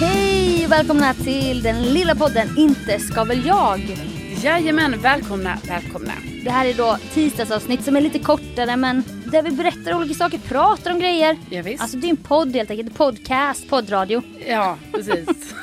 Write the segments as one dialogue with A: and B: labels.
A: Hej och välkomna till den lilla podden Inte ska väl jag.
B: Jajamän, välkomna, välkomna.
A: Det här är då tisdagsavsnitt som är lite kortare men där vi berättar olika saker, pratar om grejer.
B: Ja, visst.
A: Alltså det är en podd helt enkelt, podcast, poddradio.
B: Ja, precis.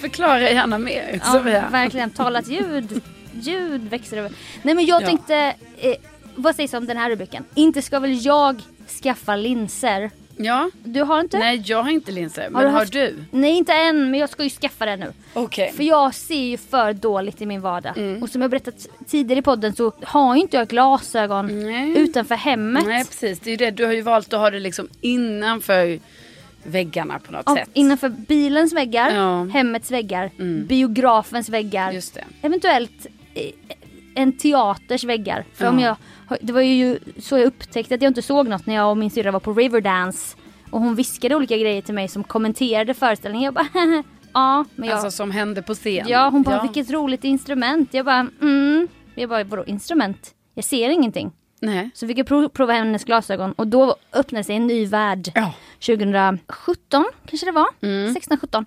B: Förklara gärna mer,
A: Ja,
B: Sofia.
A: verkligen, talat ljud. Ljud växer över. Nej men jag
B: Ja.
A: tänkte, eh, vad sägs om den här rubriken? Inte ska väl jag skaffa linser?
B: Ja.
A: Du har inte?
B: Nej, jag har inte linser, men
A: du
B: har,
A: haft-
B: du?
A: Nej inte än men jag ska ju skaffa den nu.
B: Okej.
A: För jag ser ju för dåligt i min vardag.
B: Mm.
A: Och som jag berättat tidigare i podden så har ju inte jag glasögon
B: Nej.
A: utanför hemmet.
B: Nej, precis. Det är ju det. Du har ju valt att ha det liksom innanför väggarna på något
A: Ja,
B: sätt.
A: innanför bilens väggar,
B: Ja. Mm.
A: hemmets väggar, biografens väggar.
B: Just det.
A: Eventuellt eh, en teaters väggar. För om jag, det var ju så jag upptäckte att jag inte såg något när jag och min syrra var på Riverdance. Och hon viskade olika grejer till mig som kommenterade föreställningen. Jag bara ja, men jag,
B: Alltså som hände på scen.
A: ja hon bara vilket roligt instrument. Jag bara mm. Jag bara vadå instrument? Jag ser ingenting.
B: Nej.
A: Så fick jag prov- prova hennes glasögon och då öppnade sig en ny värld.
B: Ja.
A: 2017 kanske det var. 16, 17.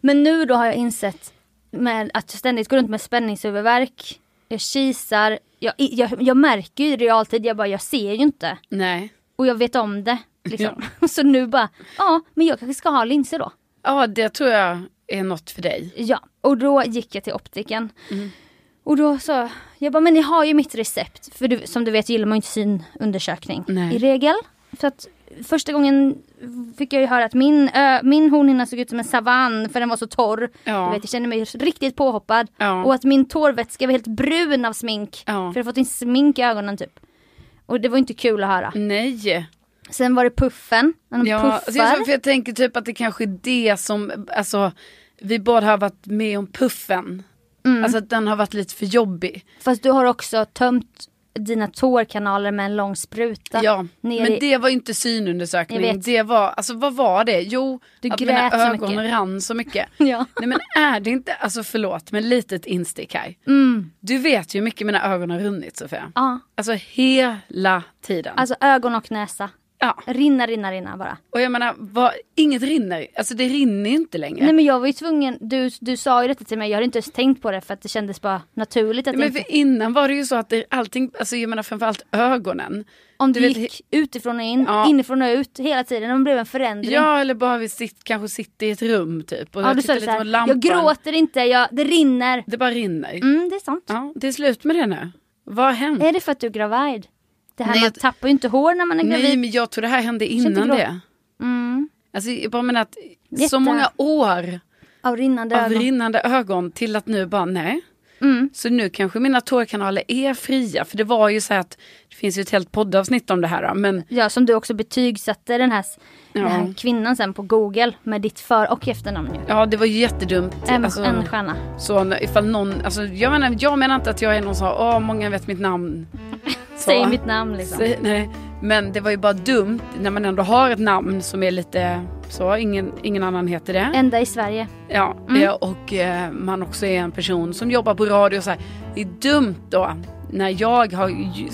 A: Men nu då har jag insett med att jag ständigt går runt med spänningshuvudvärk. Jag kisar. Jag, jag, jag märker ju i realtid, jag bara jag ser ju inte.
B: Nej.
A: Och jag vet om det. Liksom. Så nu bara, ja men jag kanske ska ha linser då.
B: Ja, det tror jag är något för dig.
A: Ja, och då gick jag till optiken.
B: Mm.
A: Och då sa jag, bara, men ni har ju mitt recept. För du, som du vet gillar man ju inte synundersökning
B: Nej.
A: i regel. Så att första gången fick jag ju höra att min, ö, min hornhinna såg ut som en savann för den var så torr.
B: Ja.
A: Du vet, jag kände mig riktigt påhoppad.
B: Ja.
A: Och att min tårvätska var helt brun av smink.
B: Ja.
A: För jag hade fått in smink i ögonen typ. Och det var inte kul att höra.
B: Nej.
A: Sen var det puffen. De
B: Mm. Ja,
A: puffar.
B: alltså jag, för jag tänker typ att det kanske är det som, alltså vi båda har varit med om puffen. Alltså att den har varit lite för jobbig.
A: Fast du har också tömt dina tårkanaler med en lång spruta.
B: Ja,
A: ner
B: men
A: i-
B: det var ju inte
A: Jag
B: synundersökning.
A: vet.
B: Det var, alltså vad var det? Jo,
A: Du
B: att
A: grät så
B: mina ögon
A: mycket.
B: rann så mycket.
A: Ja.
B: Nej men är det inte, alltså förlåt, men litet instick här. Du vet ju hur mycket mina ögon har runnit Sofia.
A: Mm. Ja.
B: Alltså hela tiden.
A: Alltså ögon och näsa.
B: ja.
A: Rinna, rinna, rinna bara.
B: Och jag menar, vad, inget rinner. Alltså det rinner inte längre.
A: Nej men jag var ju tvungen, du, du sa ju detta till mig, jag hade inte ens tänkt på det för att det kändes bara naturligt att
B: Ja, Men
A: inte,
B: för innan var det ju så att det, allting, alltså jag menar framförallt ögonen.
A: om du,
B: du vet-
A: gick utifrån och in,
B: Ja.
A: inifrån och ut hela tiden, det blev en förändring.
B: Ja eller bara vi sitt, kanske sitter i ett rum typ. Och
A: Mm. Ja,
B: jag
A: du sa
B: tittar lite
A: det så här,
B: mot lampan.
A: jag gråter inte, jag, det rinner.
B: Det bara rinner.
A: Mm, det är sant.
B: Ja, det är slut med det nu. Vad har hänt?
A: Är det för att du är gravid? Det här,
B: Mm. Nej,
A: man
B: jag-
A: tappar ju inte hår när man är gravid.
B: Nej men jag tror det här hände
A: inte
B: innan
A: gråta.
B: det.
A: Mm.
B: Alltså jag bara menar att
A: Jätte-
B: så många år
A: Av rinnande
B: av
A: ögon.
B: rinnande ögon till att nu bara nej.
A: Mm.
B: Så nu kanske mina tårkanaler är fria. För det var ju så här att det finns ju ett helt poddavsnitt om det här. då, Men
A: Ja, som du också betygsatte den här, den
B: Ja.
A: här kvinnan sen på Google med ditt för och efternamn ju.
B: ja, det var ju jättedumt.
A: En,
B: Alltså,
A: en stjärna.
B: så n- ifall någon, alltså, jag, menar, jag menar inte att jag är någon som åh många vet mitt namn. Så.
A: Säg mitt namn liksom.
B: Säg- nej. Men det var ju bara dumt när man ändå har ett namn som är lite så, ingen, ingen annan heter det.
A: Enda i Sverige.
B: Ja,
A: Mm.
B: eh, och eh, man också är en person som jobbar på radio och så här. Det är dumt då när jag har ju-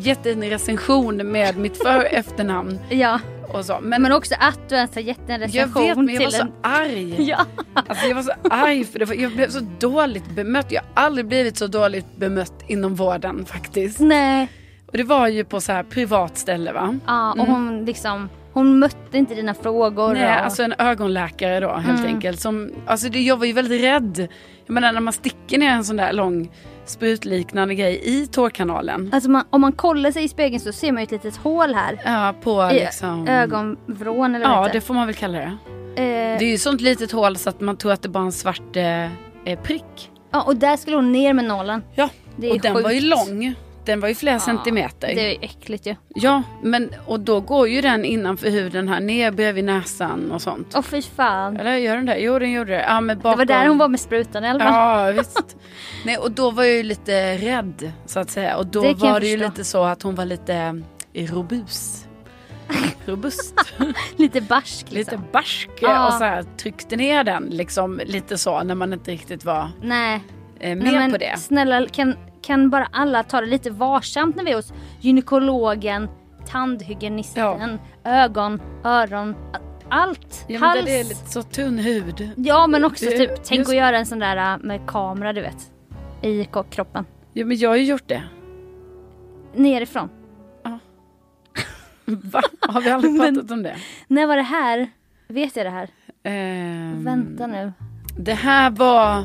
B: gett en recension med mitt för och efternamn
A: Ja,
B: och så. Men,
A: men också att du ens har gett en
B: jag
A: recension
B: vet, men jag var
A: till
B: så
A: en...
B: arg.
A: Ja.
B: Alltså, jag var så arg för det var, jag blev så dåligt bemött. Jag har aldrig blivit så dåligt bemött inom vården faktiskt.
A: Nej.
B: Och det var ju på så här privat ställe va?
A: Ja, och hon liksom, hon mötte inte dina frågor.
B: Mm. Nej,
A: och...
B: alltså en ögonläkare då helt
A: Mm.
B: enkelt. Som, alltså det, jag var ju väldigt rädd. Jag menar när man sticker ner en sån där lång sprutliknande grej i tårkanalen.
A: Alltså man, om man kollar sig i spegeln så ser man ju ett litet hål här.
B: Ja, på
A: I
B: liksom...
A: ögonvrån eller
B: Ja,
A: vad
B: det
A: heter.
B: får man väl kalla det.
A: Eh,
B: Det är ju sånt litet hål så att man tror att det bara är en svart eh, eh, prick.
A: ja, och där skulle hon ner med nålen.
B: Ja,
A: Det är
B: och den var ju
A: sjukt.
B: lång. Den var ju flera centimeter.
A: Det är ju äckligt ju.
B: Ja, men och då går ju den innanför huden här ner bredvid näsan och sånt.
A: Åh fy fan.
B: Eller gör den det? Jo, den gjorde det. Ja, men
A: Det
B: bakom...
A: var där hon var med sprutan i alla fall.
B: Ja visst. Nej, och då var jag ju lite rädd så att säga. Och då
A: Det kan jag
B: var det ju
A: förstå.
B: lite så att hon var lite eh, robus. Robust.
A: Lite barsk liksom.
B: lite barsk.
A: Ja.
B: Och så här, tryckte ner den liksom lite så när man inte riktigt var
A: Nej.
B: eh, med
A: Nej men
B: på det.
A: snälla kan, kan bara alla ta det lite varsamt när vi är hos gynekologen, tandhygienisten, ögon, öron, a- allt.
B: Ja, men
A: Hals.
B: det är lite så tunn hud.
A: Ja men också
B: Det-
A: typ,
B: just-
A: tänk att göra en sån där äh, med kamera du vet. I ko- kroppen.
B: Ja men jag har ju gjort det.
A: Nerifrån.
B: Va? Har vi aldrig
A: Men-
B: pratat om det?
A: När var det här? Vet jag det här?
B: Ehm,
A: Vänta nu.
B: Det här var...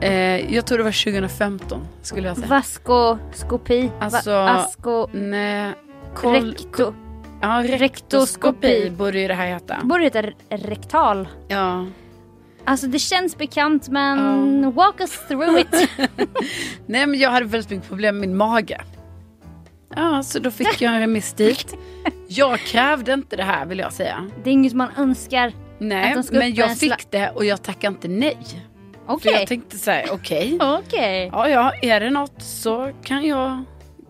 B: Eh, jag tror det var 2015 skulle jag säga.
A: Vaskoskopi.
B: Alltså-
A: Va- asko...
B: Nej, koll,
A: Rekto.
B: Ja, rektoskopi
A: Rektoskopi.
B: borde ju det här heta.
A: Borde heta re- rektal.
B: Ja.
A: Alltså det känns bekant men walk us through it.
B: Nej men jag hade väldigt mycket problem med min mage. Ja, så då fick jag en remiss dit. Jag krävde inte det här vill jag säga.
A: Det är inget man önskar.
B: Nej,
A: Att de ska
B: men
A: upp
B: jag
A: en sla-
B: fick det och jag tackade inte nej. För
A: Okej.
B: jag tänkte så här, okej.
A: Okej.
B: Ja, ja, är det något så kan jag...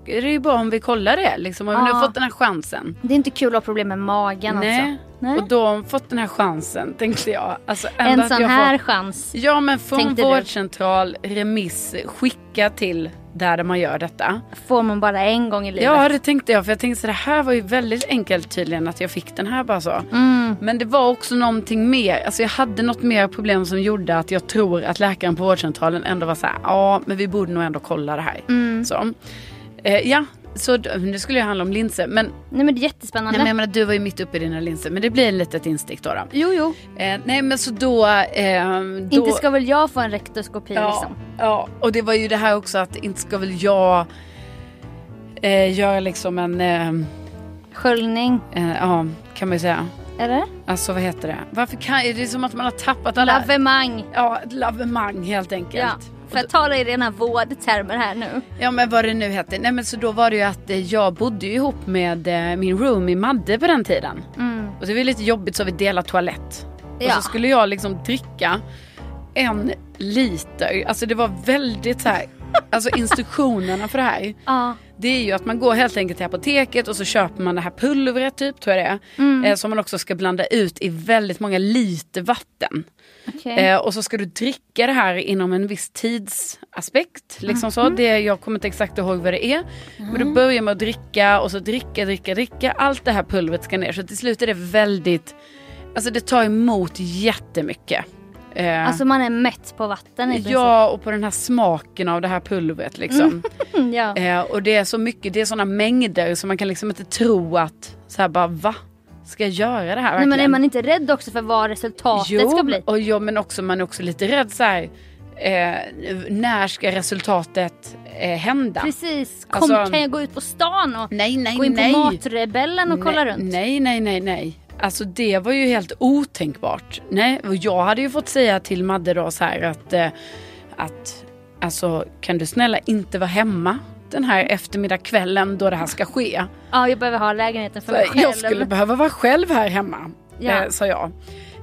B: Det är ju bra om vi kollar det liksom. Om vi nu
A: Ja.
B: har fått den här chansen.
A: Det är inte kul att ha problem med magen
B: Nej.
A: alltså. Nej.
B: Och då har hon fått den här chansen tänkte jag. Alltså, ändå
A: En
B: att
A: sån
B: jag
A: här
B: får-
A: chans.
B: Ja men från
A: Tänkte du?
B: vårdcentral, remiss, skicka till där man gör detta.
A: Får man bara en gång i livet.
B: Ja det tänkte jag för jag tänkte så det här var ju väldigt enkelt tydligen att jag fick den här bara så.
A: Mm.
B: Men det var också någonting mer, alltså jag hade något mer problem som gjorde att jag tror att läkaren på vårdcentralen ändå var så här, ja men vi borde nog ändå kolla det här.
A: Mm.
B: Så. Eh, ja, så d- nu skulle jag handla om linser men,
A: Nej men det är jättespännande.
B: nej, men jag menar, du var ju mitt uppe i dina linser men det blir ett litet instick då. då.
A: Jo jo.
B: Eh, nej men så då, eh, då...
A: Inte ska väl jag få en rektoskopi liksom.
B: Ja, och det var ju det här också att inte ska väl jag eh, göra liksom en, eh,
A: Sköljning.
B: eh, ja kan man ju säga.
A: Eller?
B: Alltså vad heter det? Varför kan, är det är som att man har tappat alla...
A: Lavemang.
B: Ja, ett lavemang helt enkelt.
A: Ja. För att tala i rena vårdtermer här nu.
B: Ja men vad det nu hette. Nej men så då var det ju att eh, jag bodde ju ihop med eh, min roomie Madde på den tiden. Och det var ju lite jobbigt så vi delade toalett. Och
A: Mm. Ja.
B: så skulle jag liksom dricka en liter. Alltså det var väldigt så här. Alltså instruktionerna för det här.
A: Ja.
B: Det är ju att man går helt enkelt till apoteket och så köper man det här pulvret typ tror jag det är.
A: Mm.
B: Eh, som man också ska blanda ut i väldigt många liter vatten.
A: Okej.
B: Eh, och så ska du dricka det här inom en viss tidsaspekt. Liksom så.
A: Mm.
B: Det, jag kommer inte exakt ihåg vad det är. Men du börjar med att dricka och så dricka, dricka, dricka. Allt det här pulvret ska ner. Så till slut är det väldigt, alltså det tar emot jättemycket. Eh,
A: Alltså man är mätt på vatten i princip.
B: ja och på den här smaken av det här pulvret liksom.
A: Mm, ja.
B: Eh, och det är så mycket, det är sådana mängder så man kan liksom inte tro att så här bara va? Ska jag göra det här
A: Nej,
B: verkligen?
A: men är man inte rädd också för vad resultatet
B: jo,
A: ska bli?
B: Och jo, men också, man är också lite rädd så här. Eh, när ska resultatet eh, hända?
A: Precis. Kom,
B: Alltså-
A: kan jag gå ut på stan och
B: Nej, nej,
A: gå in på
B: nej.
A: Matrebellen och kolla
B: nej,
A: runt?
B: Nej, nej, nej, nej. Alltså det var ju helt otänkbart. Nej, och jag hade ju fått säga till Madde då så här att, eh, att alltså kan du snälla inte vara hemma den här eftermiddag kvällen då det här ska ske.
A: Ja, jag behöver ha lägenheten för
B: Så
A: mig själv.
B: jag skulle behöva vara själv här hemma,
A: Ja.
B: eh, sa jag.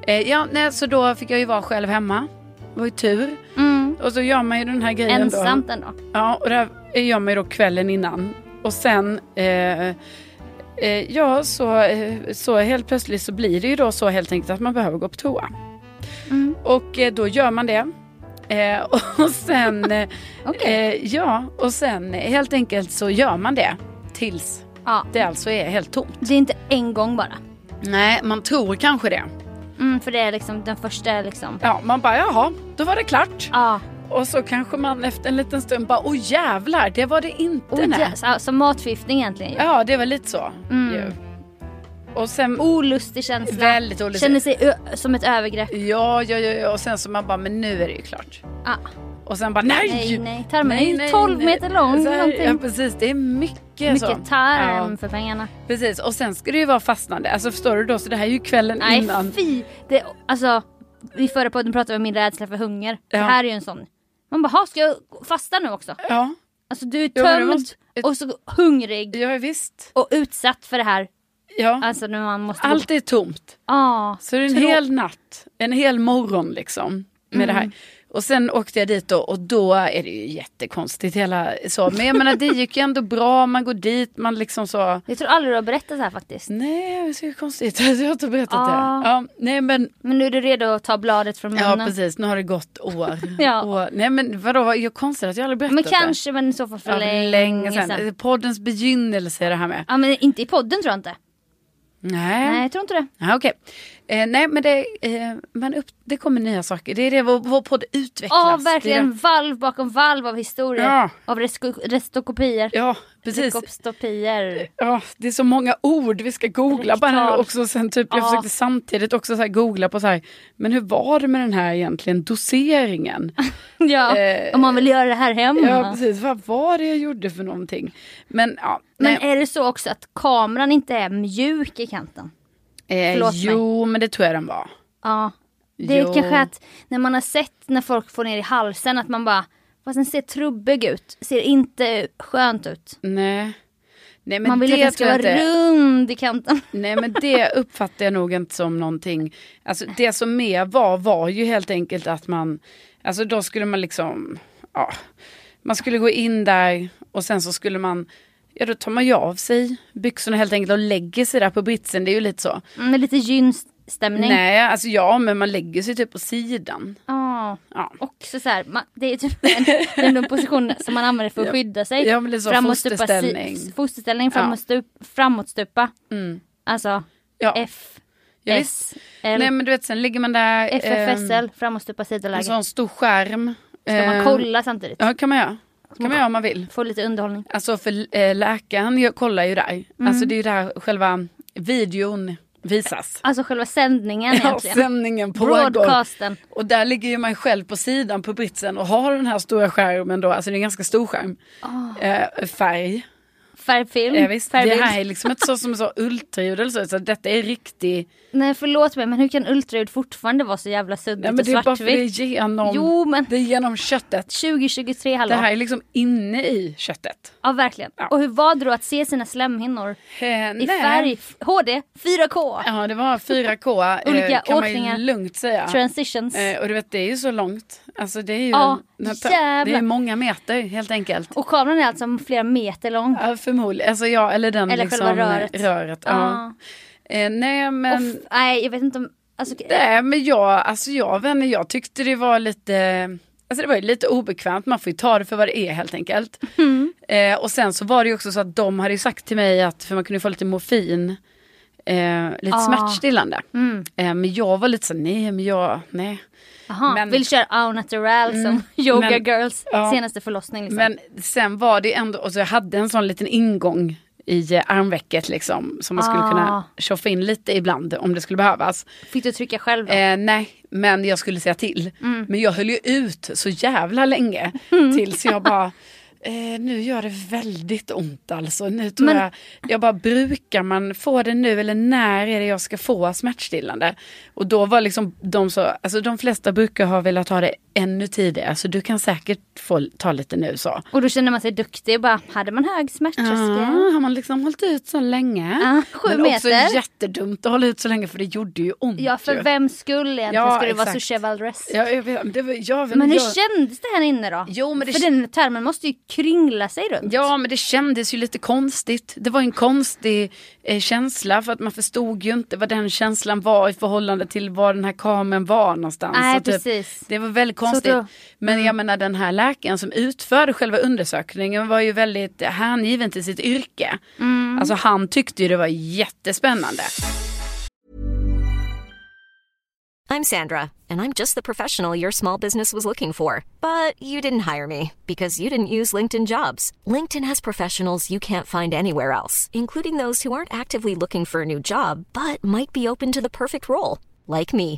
B: Eh, ja, nej, så då fick jag ju vara själv hemma. Det var ju tur.
A: mm,
B: Och så gör man ju den här grejen då.
A: ensamt ändå.
B: Ja, och det här eh, gör man ju då kvällen innan. Och sen, eh, eh, ja, så, eh, så helt plötsligt så blir det ju då så helt enkelt att man behöver gå på toa.
A: Mm.
B: Och eh, då gör man det. Eh, och sen, eh,
A: Okej.
B: eh, ja, och sen eh, helt enkelt så gör man det tills
A: Ja.
B: det alltså är helt tomt.
A: Det är inte en gång bara.
B: Nej, man tror kanske det.
A: Mm, för det är liksom den första är liksom.
B: Ja, man bara jaha, då var det klart.
A: Ja,
B: Och så kanske man efter en liten stund bara, åh jävlar, det var det inte.
A: oh,
B: nej.
A: yes. ja, som matförgiftning egentligen. ju.
B: Ja, det var lite så.
A: Mm.
B: ju. Och sen...
A: Olustig känsla.
B: Väldigt olustig.
A: Känner sig ö- som ett övergrepp.
B: Ja, ja, ja, ja. Och sen så man bara, men nu är det ju klart.
A: Ja.
B: Och sen bara, nej!
A: Nej, nej. Tarmen är ju 12 meter lång,
B: Så här,
A: någonting.
B: ja, precis. Det är mycket, så.
A: Mycket tarm
B: Ja,
A: för pengarna.
B: precis. Och sen ska det ju vara fastnande. Alltså förstår du då? Så det här är ju kvällen
A: Nej
B: innan.
A: fy! Det, alltså, i förra podden pratade vi om min rädsla för hunger. Det
B: Ja.
A: här är ju en sån. Man bara, "Ha, ska jag fasta nu också?
B: Ja,
A: Alltså du är
B: Jo, men det
A: tömd
B: måste-
A: och så hungrig
B: ja visst.
A: och utsatt för det här.
B: Ja.
A: Alltså när man måste...
B: Allt är tomt.
A: Ja.
B: Så det är en hel natt, en hel morgon liksom. Med det
A: Mm.
B: här. Och sen åkte jag dit då, och då är det ju jättekonstigt hela så. Men jag menar det gick ju ändå bra, man går dit, man liksom så.
A: Jag tror aldrig du har berättat det här faktiskt.
B: Nej, det är ju konstigt. Jag har inte berättat
A: Ja.
B: det. Ja, nej men,
A: Men nu är du redo att ta bladet från munnen.
B: ja precis, nu har det gått år.
A: Ja.
B: år. Nej men vadå, vad- jag konstigt att jag aldrig berättat
A: Men
B: det.
A: kanske men i så fall för
B: Ja,
A: länge,
B: sedan.
A: sedan.
B: Poddens begynnelse är det här med.
A: Ja men inte i podden tror jag inte.
B: Nej.
A: Nej jag tror inte det.
B: Ja, okej. Eh, nej men det, eh, man upp, det kommer nya saker. Det är det vår, vår podd utvecklas.
A: Ja
B: Det är det-
A: verkligen valv bakom valv av historier.
B: Ja.
A: Av resko- restokopier.
B: Ja, precis.
A: Rekopstopier.
B: Ja, det är så många ord vi ska googla bara nu
A: Rektal.
B: också. Sen typ, jag
A: Ja.
B: försökte samtidigt också så här googla på så här, men hur var det med den här egentligen doseringen?
A: Ja,
B: Eh,
A: om man vill göra det här hemma.
B: Ja, precis. Vad var det jag gjorde för någonting? Men ja,
A: men
B: nej.
A: är det så också att kameran inte är mjuk i kanten?
B: Eh,
A: förlåt mig.
B: jo, men det tror jag den var.
A: Ja. Det är
B: Jo.
A: kanske att när man har sett när folk får ner i halsen att man bara, fast den ser trubbig ut, ser inte skönt ut.
B: Nej. Nej, men
A: man vill att
B: det
A: den ska
B: tror jag
A: vara
B: inte.
A: rund i kanten.
B: Nej, men det uppfattar jag nog inte som någonting. Alltså det som mer var, var ju helt enkelt att man, alltså då skulle man liksom, ja, man skulle gå in där och sen så skulle man, ja då tar man ju av sig byxorna helt enkelt och lägger sig där på britsen, det är ju lite så.
A: Mm, lite gynstämning.
B: Nej, alltså ja, men man lägger sig typ på sidan.
A: Ja.
B: Ja.
A: Också så här, man, det är typ en, en, en position som man använder för att skydda sig.
B: Ja, men det är så
A: Framåtstupa, si-
B: fosterställning. Mm.
A: Fosterställning, framåtstup, framåtstupa. Alltså
B: Ja,
A: F,
B: ja,
A: S,
B: visst.
A: L.
B: Nej men du vet, sen ligger man där. ehm,
A: FFSL, framåtstupa
B: En
A: sidoläge.
B: sån stor skärm.
A: Ska man
B: Ehm,
A: kolla samtidigt?
B: Ja, kan man göra. Kan man göra om man vill.
A: Få lite underhållning.
B: Alltså för eh, läkaren jag kollar ju där.
A: Mm.
B: Alltså det är ju där själva videon visas.
A: Alltså själva sändningen
B: Ja,
A: egentligen.
B: sändningen pågår.
A: Broadcasten.
B: Och där ligger ju man själv på sidan på britsen och har den här stora skärmen då. Alltså det är en ganska stor skärm. Eh, färg.
A: Färgfilm.
B: Ja, visst. Det
A: Ah. Mm, färgbild.
B: här är liksom inte så som så ultraljud eller så. så detta är riktig...
A: Nej förlåt mig men hur kan ultraljud fortfarande vara så jävla
B: Nej
A: suddigt
B: men
A: och
B: det är bara för det
A: svartvitt?
B: är genom...
A: Jo men
B: Det är genom köttet.
A: 2023 hallå.
B: Det här är liksom inne i köttet.
A: Ja verkligen.
B: Ja.
A: Och hur var det då att se sina slemhinnor?
B: Eh,
A: I
B: nej.
A: färg, f- HD, 4K,
B: Ja det var 4K. eh,
A: Olika
B: kan
A: åkningar.
B: man ju lugnt säga.
A: transitions.
B: Eh, och du vet det är ju så långt. Alltså det är ju
A: Ja,
B: det är
A: jävlar.
B: många meter helt enkelt.
A: Och kameran är alltså flera meter lång.
B: Ja, förmodligen. Alltså ja, eller den
A: Eller
B: liksom,
A: själva röret.
B: ja.
A: Ja.
B: Eh, nej
A: Och
B: men,
A: f- nej jag vet inte om... Alltså,
B: nej, men jag, alltså jag vänner, jag tyckte det var lite, alltså det var ju lite obekvämt, man får ju ta det för vad det är helt enkelt.
A: Mm.
B: Eh, och sen så var det ju också så att de hade ju sagt till mig att, för man kunde ju få lite morfin, eh, lite
A: Ah.
B: smärtstillande.
A: Mm.
B: Eh, men jag var lite så nej men jag, nej.
A: Aha,
B: Men- Mm.
A: vill köra au natural som yoga
B: men-
A: girls
B: ja.
A: senaste förlossning. Liksom.
B: Men sen var det ändå, och så jag hade en sån liten ingång i eh, armvecket liksom. Som man skulle
A: Ah.
B: kunna tjoffa in lite ibland om det skulle behövas.
A: Fick du trycka själv då?
B: Eh, nej, men
A: Mm.
B: jag skulle säga till. Men jag höll ju ut så jävla länge. Tills jag bara, Eh, nu gör det väldigt ont alltså. Nu tror
A: Men-
B: jag, jag bara brukar man få det nu eller när är det jag ska få smärtstillande? Och då var liksom de så, alltså de flesta brukar ha velat ha det ännu tidigare så du kan säkert få ta lite nu så.
A: Och då känner man sig duktig och bara, hade man hög smärttröskel?
B: har man liksom hållit ut så länge.
A: Ja, sju
B: Men också
A: meter.
B: jättedumt att hålla ut så länge för det gjorde ju ont
A: Ja, för
B: ju.
A: vem skulle egentligen
B: Ja,
A: skulle det vara så
B: exakt.
A: chivalrous?
B: Ja, jag vet, det var, jag,
A: Men hur
B: jag,
A: kändes det här inne då?
B: Jo, men det
A: För
B: kän-
A: den termen måste ju kringla sig runt.
B: Ja, men det kändes ju lite konstigt. Det var en konstig eh, känsla för att man förstod ju inte vad den känslan var i förhållande till var den här kameran var någonstans.
A: Nej,
B: Så typ,
A: precis.
B: det var väldigt konstigt.
A: då- Mm.
B: Men jag menar den här läkaren som utförde själva undersökningen var ju väldigt hängiven till sitt yrke.
A: Mm.
B: Alltså han tyckte ju det var jättespännande.
C: I'm Sandra, and I'm just the professional your small business was looking for. But you didn't hire me because you didn't use LinkedIn jobs. LinkedIn has professionals you can't find anywhere else, including those who aren't actively looking for a new job but might be open to the perfect role, like me.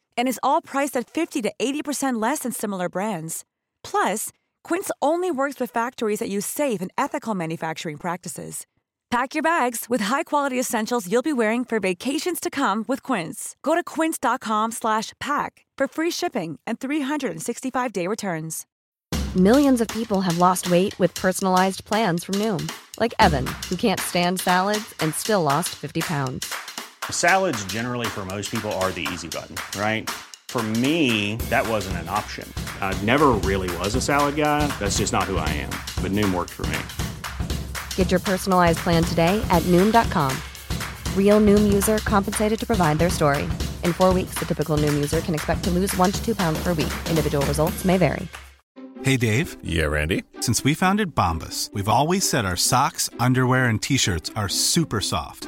D: And is all priced at 50 to 80% less than similar brands. Plus, Quince only works with factories that use safe and ethical manufacturing practices. Pack your bags with high-quality essentials you'll be wearing for vacations to come with Quince. Go to quince.com slash pack for free shipping and 365-day returns.
E: Millions of people have lost weight with personalized plans from Noom, like Evan, who can't stand salads and still lost 50 pounds.
F: Salads, generally, for most people, are the easy button, right? For me, that wasn't an option. I never really was a salad guy. That's just not who I am. But Noom worked for me.
E: Get your personalized plan today at Noom.com. Real Noom user compensated to provide their story. In four weeks, the typical Noom user can expect to lose one to two pounds per week. Individual results may vary.
G: Hey Dave,
H: Yeah, Randy.
G: since we founded Bombus, we've always said our socks, underwear, and t shirts are super soft.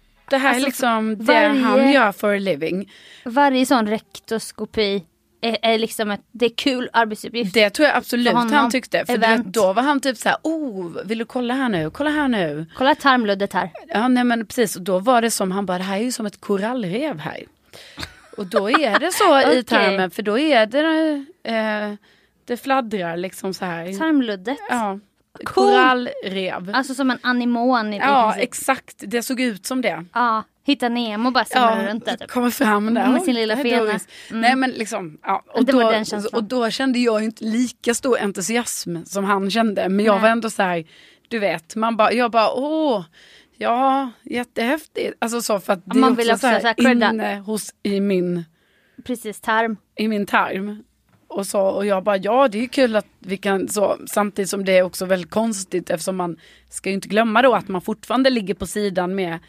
B: Det här
A: Alltså,
B: är liksom det
A: varje-
B: han gör for a living.
A: Varje sån rektoskopi är, är liksom ett, det är kul arbetsuppgift.
B: Det tror jag absolut
A: För honom.
B: han tyckte. För du vet,
A: Event.
B: då var han typ så här, oh, vill du kolla här nu, kolla här nu.
A: Kolla tarmluddet här.
B: Ja, nej men precis, och då var det som han bara, det här är ju som ett korallrev här. Och då är det så i
A: Okej.
B: tarmen, för då är det, eh, det fladdrar liksom så här.
A: Tarmluddet.
B: Ja,
A: Cool.
B: korallrev.
A: Alltså som en anemon. I
B: Ja,
A: princip.
B: exakt, det såg ut som det.
A: ja, hitta Nemo bara simmar runt där. Typ.
B: kommer fram där.
A: Med sin lilla
B: Hej då,
A: fena.
B: Iris. Nej men liksom, ja. Och,
A: Det
B: då,
A: var den känslan.
B: och då kände jag ju inte lika stor entusiasm som han kände. Men jag
A: Nej.
B: var ändå så här, du vet, man bara, jag bara åh, ja jättehäftigt. Alltså så för att det
A: man
B: är
A: vill
B: också,
A: också
B: så
A: så här
B: här,
A: credda.
B: inne hos, i min,
A: Precis, tarm.
B: i min tarm. Och, så, och jag bara, ja det är ju kul att vi kan så, samtidigt som det är också väldigt konstigt eftersom man ska ju inte glömma då att man fortfarande ligger på sidan med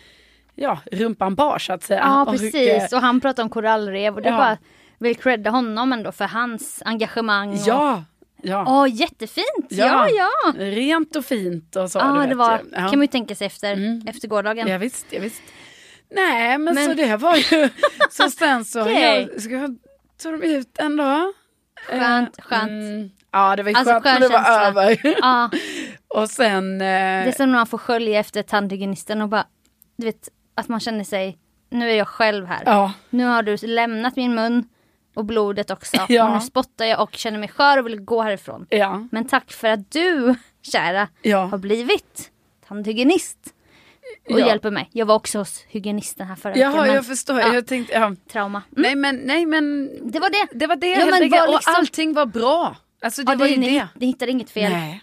B: ja, rumpan bar så att säga.
A: Ja,
B: Och, eh,
A: precis. Och han pratar om korallrev och det
B: Ja.
A: bara vill credda honom ändå för hans engagemang. och-
B: Ja, ja.
A: Åh, jättefint! Ja, ja.
B: Rent och fint och så.
A: Ja,
B: du
A: ah,
B: vet
A: det var,
B: ju. ja. Mm.
A: kan man ju tänka sig efter, efter gårdagen.
B: ja, visst, ja, visst. Nej, men,
A: Men-
B: så det var ju... så sen så...
A: Okej.
B: Jag, ska jag, tog de ut en dag.
A: Skönt,
B: Eh,
A: skönt.
B: mm, ja, det var ju
A: Alltså,
B: skönt
A: skön
B: när det var
A: känsla.
B: över.
A: Ja,
B: och sen...
A: det är
B: Eh,
A: som när man får skölja efter tandhygienisten och bara, du vet, att man känner sig, nu är jag själv här.
B: ja,
A: Nu har du lämnat min mun och blodet också.
B: Ja.
A: Och nu spottar jag och känner mig skör och vill gå härifrån.
B: ja,
A: Men tack för att du, kära, har
B: ja.
A: blivit tandhygienist. Och
B: Ja.
A: hjälper mig. Jag var också hos hygienisten här förra
B: Jaha,
A: men
B: jag förstår.
A: Ja.
B: Jag tänkte... Ja.
A: trauma. Mm.
B: Nej, men, nej, men...
A: Det var det.
B: Det var det
A: Ja,
B: helt
A: men
B: enkelt.
A: var
B: Och
A: liksom-
B: allting var bra. Alltså det
A: ja,
B: var
A: det,
B: ju
A: ni,
B: det.
A: ni hittade inget fel.
B: Nej.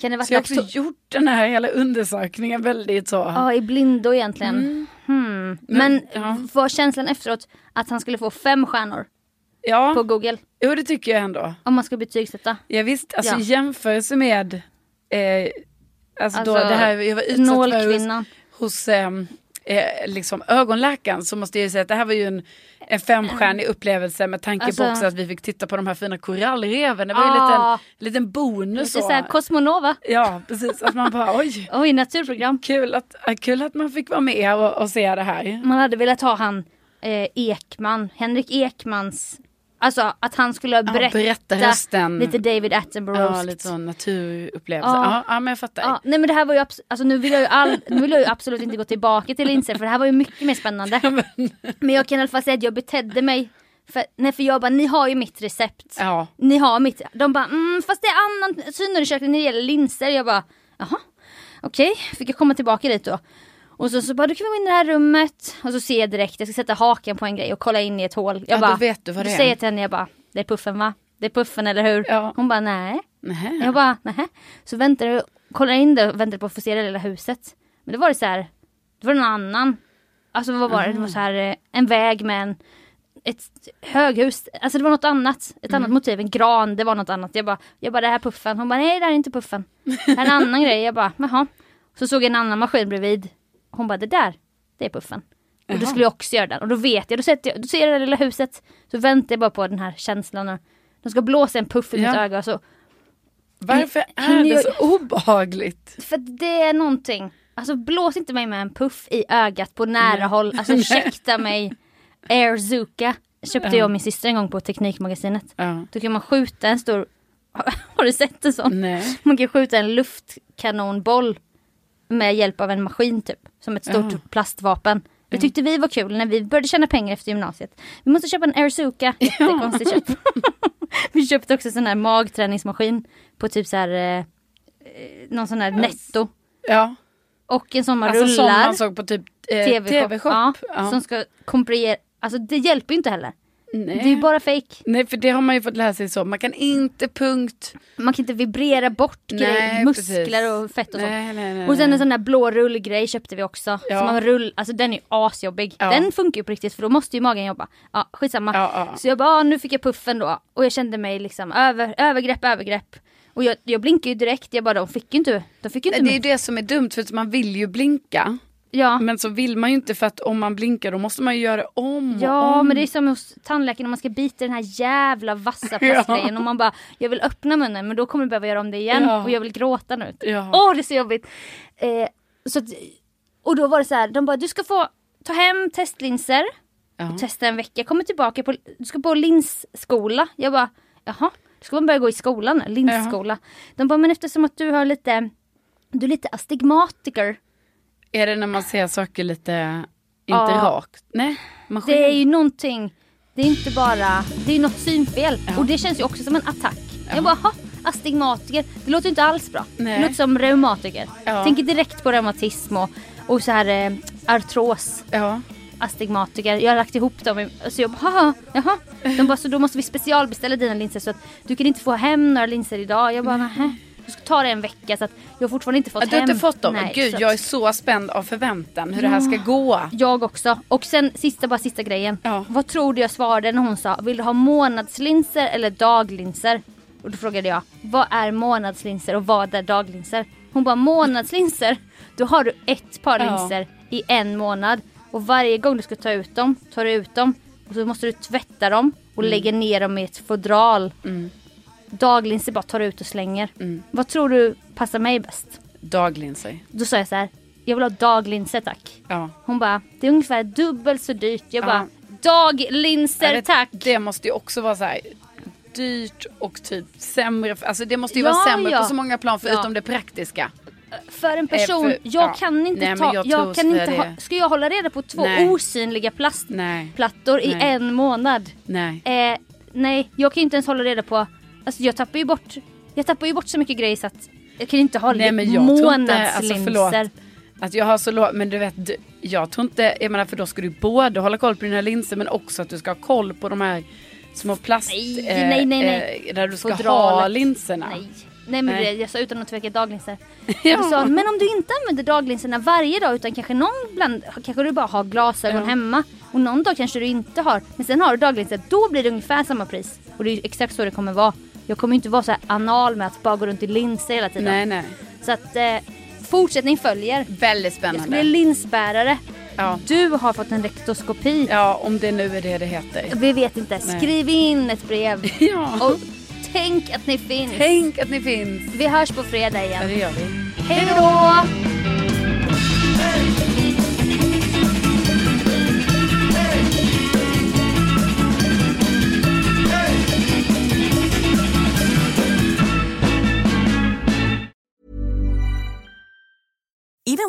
A: Kan det vara
B: Så jag har också gjort den här hela undersökningen väldigt så.
A: Ja, i blindo egentligen.
B: Mm.
A: Hmm. Men, var känslan efteråt att han skulle få fem stjärnor
B: Ja,
A: på Google?
B: jo det tycker jag ändå.
A: Om man ska betygsätta.
B: Ja, visst, alltså
A: Ja.
B: i jämförelse med eh, alltså, då,
A: Alltså,
B: det här jag var utsatt för hos,
A: Nålkvinnan.
B: hos ehm, eh, liksom ögonläkaren så måste jag ju säga att det här var ju en, en femstjärnig upplevelse med tanke
A: Alltså-
B: på också att vi fick titta på de här fina korallreven. Det var ju en
A: Ah.
B: liten, liten bonus.
A: Lite såhär Cosmonova.
B: ja, precis. Att man bara oj,
A: Oj, naturprogram.
B: kul att, äh, kul att man fick vara med och, och se det här.
A: Man hade velat ha han eh, Ekman, Henrik Ekmans, alltså att han skulle berätta,
B: berättarrösten.
A: lite Ah. David Attenborough.
B: Ja, lite sån naturupplevelser.
A: Ja.
B: Ja. Ja, men jag fattar.
A: Ja, nej men det här var ju, abs- alltså, nu, vill jag ju all- nu vill jag ju absolut inte gå tillbaka till Lindsay för det här var ju mycket mer spännande. Men jag kan i alla fall säga att jag betedde mig, för, nej för jag bara, ni har ju mitt recept.
B: Ja.
A: Ni har mitt, de bara, mm, fast det är annan synundersökning när det gäller linser. Jag bara, jaha, okej, fick jag komma tillbaka dit då. Och så, så bara, du kan gå in i det här rummet. Och så ser jag direkt, jag ska sätta haken på en grej och kolla in i ett hål. Jag
B: Ja,
A: bara,
B: då vet du vad det
A: då
B: är.
A: säger jag till henne, jag bara, det är puffen va? Det är puffen eller hur?
B: Ja.
A: Hon bara, nej.
B: Nähä.
A: Jag bara, nähä. Så väntar jag, kollar in det och väntar på att få se det lilla huset. Men det var det så här, det var någon annan. Alltså vad var det? Det var så här eh, en väg med en, ett höghus. Alltså det var något annat. Ett annat motiv, en gran, det var något annat. Jag bara, jag bara det här är puffen. Hon bara, nej det här är inte puffen. Det här är en annan grej. Jag bara, jaha. Så såg jag en annan maskin bredvid. Hon bara, det där, det är puffen. Och då skulle jag också göra den. Och då vet jag, då, sätter jag, då ser jag det där lilla huset. Så väntar jag bara på den här känslan. Och de ska blåsa en puff i mitt
B: Ja.
A: öga. och Så
B: Varför
A: Hinner
B: är det
A: jag-
B: så obehagligt?
A: För att det är någonting. Alltså blås inte mig med en puff i ögat på nära håll. Alltså ursäkta mig. Airzuka köpte jag och min syster en gång på Teknikmagasinet.
B: Ja.
A: Då kan man skjuta en stor, har du sett en sån?
B: Nej.
A: Man kan skjuta en luftkanonboll med hjälp av en maskin typ. Som ett stort plastvapen. Det tyckte vi var kul när vi började tjäna pengar efter gymnasiet. Vi måste köpa en Airzuka. Jättekonstigt köp. vi köpte också sån här magträningsmaskin på typ så här eh, eh, någon sån här netto.
B: Ja.
A: Och en sån man
B: Alltså som
A: rullar.
B: man såg på typ eh,
A: TV-shop.
B: TV-shop.
A: ja,
B: Ja.
A: Som ska kompriera. Alltså det hjälper ju inte heller.
B: Nej.
A: Det är ju bara fake.
B: Nej, för det har man ju fått lära sig så. Man kan inte punkt.
A: Man kan inte vibrera bort grejer,
B: Nej,
A: muskler
B: precis.
A: och fett och
B: Nej,
A: så.
B: nej, nej,
A: och sen en
B: nej.
A: sån där blå rullgrej köpte vi också.
B: Ja.
A: Som man rull, alltså den är ju asjobbig.
B: Ja.
A: Den funkar ju på riktigt för då måste ju magen jobba. Ja, skitsamma.
B: Ja, ja.
A: Så jag bara, ah, nu fick jag puffen då. Och jag kände mig liksom över, övergrepp, övergrepp. Och jag, jag blinkade ju direkt. Jag bara, de fick ju inte, de fick ju
B: Nej,
A: inte
B: det är ju
A: mitt-
B: det som är dumt för att man vill ju blinka.
A: Ja.
B: Men så vill man ju inte för att om man blinkar då måste man ju göra det om och
A: Ja
B: om.
A: men det är som hos tandläkaren när man ska bita den här jävla vassa plastgrejen och man bara jag vill öppna munnen men då kommer du behöva göra om det igen
B: Ja.
A: och jag vill gråta nu. Åh
B: Ja.
A: det är så jobbigt. Eh, så att, och då var det så här, de bara du ska få ta hem testlinser och testa en vecka, kommer tillbaka på, du ska på linsskola. Jag bara jaha, ska man börja gå i skolan nu? Linsskola. De bara men eftersom att du har lite, du är lite astigmatiker.
B: Är det när man ser saker lite, eh, inte
A: Ja.
B: rakt? Nej, man
A: Det är
B: skiljer.
A: ju någonting, det är inte bara, det är ju något synfel. Och det känns ju också som en attack. Jag bara, "Ha, astigmatiker, det låter ju inte alls bra.
B: Nej.
A: Det låter som reumatiker.
B: Ja.
A: Tänker direkt på reumatism och, och så här eh, artros,
B: Ja.
A: astigmatiker. Jag har lagt ihop dem. i- Så jag bara, "Haha, jaha. De bara, så då måste vi specialbeställa dina linser så att du kan inte få hem några linser idag. Jag bara, nähä. Du ska ta det en vecka så att jag har fortfarande inte fått
B: Ja,
A: hem.
B: Du har inte fått dem?
A: Nej,
B: Gud,
A: så att-
B: jag är så spänd av förväntan hur det här ska gå.
A: jag också. Och sen sista, bara sista grejen.
B: Ja.
A: Vad tror du jag svarade när hon sa, vill du ha månadslinser eller daglinser? Och då frågade jag, vad är månadslinser och vad är daglinser? Hon bara, månadslinser, då har du ett par
B: Ja.
A: linser i en månad. Och varje gång du ska ta ut dem, tar du ut dem. Och så måste du tvätta dem och
B: Mm.
A: lägga ner dem i ett fodral. Daglinser bara tar du ut och slänger.
B: Mm.
A: Vad tror du passar mig bäst?
B: Daglinser.
A: Då sa jag så här, jag vill ha daglinser tack.
B: Ja.
A: Hon bara, det är ungefär dubbelt så dyrt. Jag
B: Ja.
A: bara, daglinser
B: Jag vet,
A: tack.
B: Det måste ju också vara så här dyrt och typ sämre. för- Alltså det måste ju
A: Ja,
B: vara sämre
A: ja.
B: på så många plan förutom
A: Ja.
B: det praktiska.
A: För en person,
B: Eh, för-
A: jag
B: ja.
A: kan inte
B: Nej, men
A: ta, jag,
B: jag tror
A: kan
B: så
A: inte
B: är
A: ha,
B: det.
A: ska jag hålla reda på två
B: Nej.
A: osynliga
B: Nej.
A: plastplattor i
B: Nej.
A: en månad?
B: Nej.
A: Eh, nej, jag kan ju inte ens hålla reda på, alltså jag tappar ju bort, jag tappar ju bort så mycket grejer så att jag kan inte ha
B: Nej men jag tror inte, alltså
A: månadslinser.
B: förlåt. Att jag har så låg, men du vet, du- jag tror inte, jag menar för då ska du både hålla koll på dina linser men också att du ska ha koll på de här små plast...
A: Nej, nej, nej, nej.
B: eh, där du ska
A: Fodralet.
B: ha linserna.
A: Nej. Nej men
B: Nej.
A: det- jag sa utan att tveka daglinser. ja. Du sa, men om du inte använder daglinserna varje dag utan kanske någon bland, kanske du bara har glasögon
B: Ja.
A: hemma och någon dag kanske du inte har, men sen har du daglinser, då blir det ungefär samma pris. Och det är ju exakt så det kommer vara. Jag kommer inte vara så här anal med att bara gå runt i linser hela tiden.
B: Nej, nej.
A: Så att eh, fortsättning följer.
B: Väldigt
A: Jag ska
B: spännande.
A: bli linsbärare.
B: Ja.
A: Du har fått en rektoskopi.
B: ja, om det nu är det det heter.
A: Vi vet inte.
B: Nej.
A: Skriv in ett brev.
B: Ja.
A: Och tänk att ni finns.
B: Tänk att ni finns.
A: Vi hörs på fredag
B: Ja,
A: igen.
B: det gör vi.
A: Hej då!
D: Even